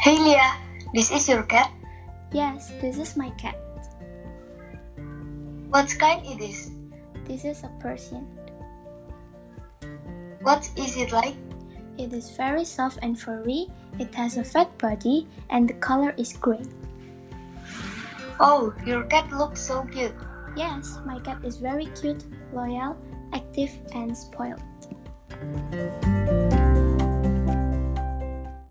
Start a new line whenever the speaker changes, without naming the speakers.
Hey Leah, this is your cat.
Yes, this is my cat.
What kind it is?
This is a Persian.
What is it like?
It is very soft and furry. It has a fat body and the color is green.
Oh, your cat looks so cute.
Yes, my cat is very cute, loyal, active, and spoiled.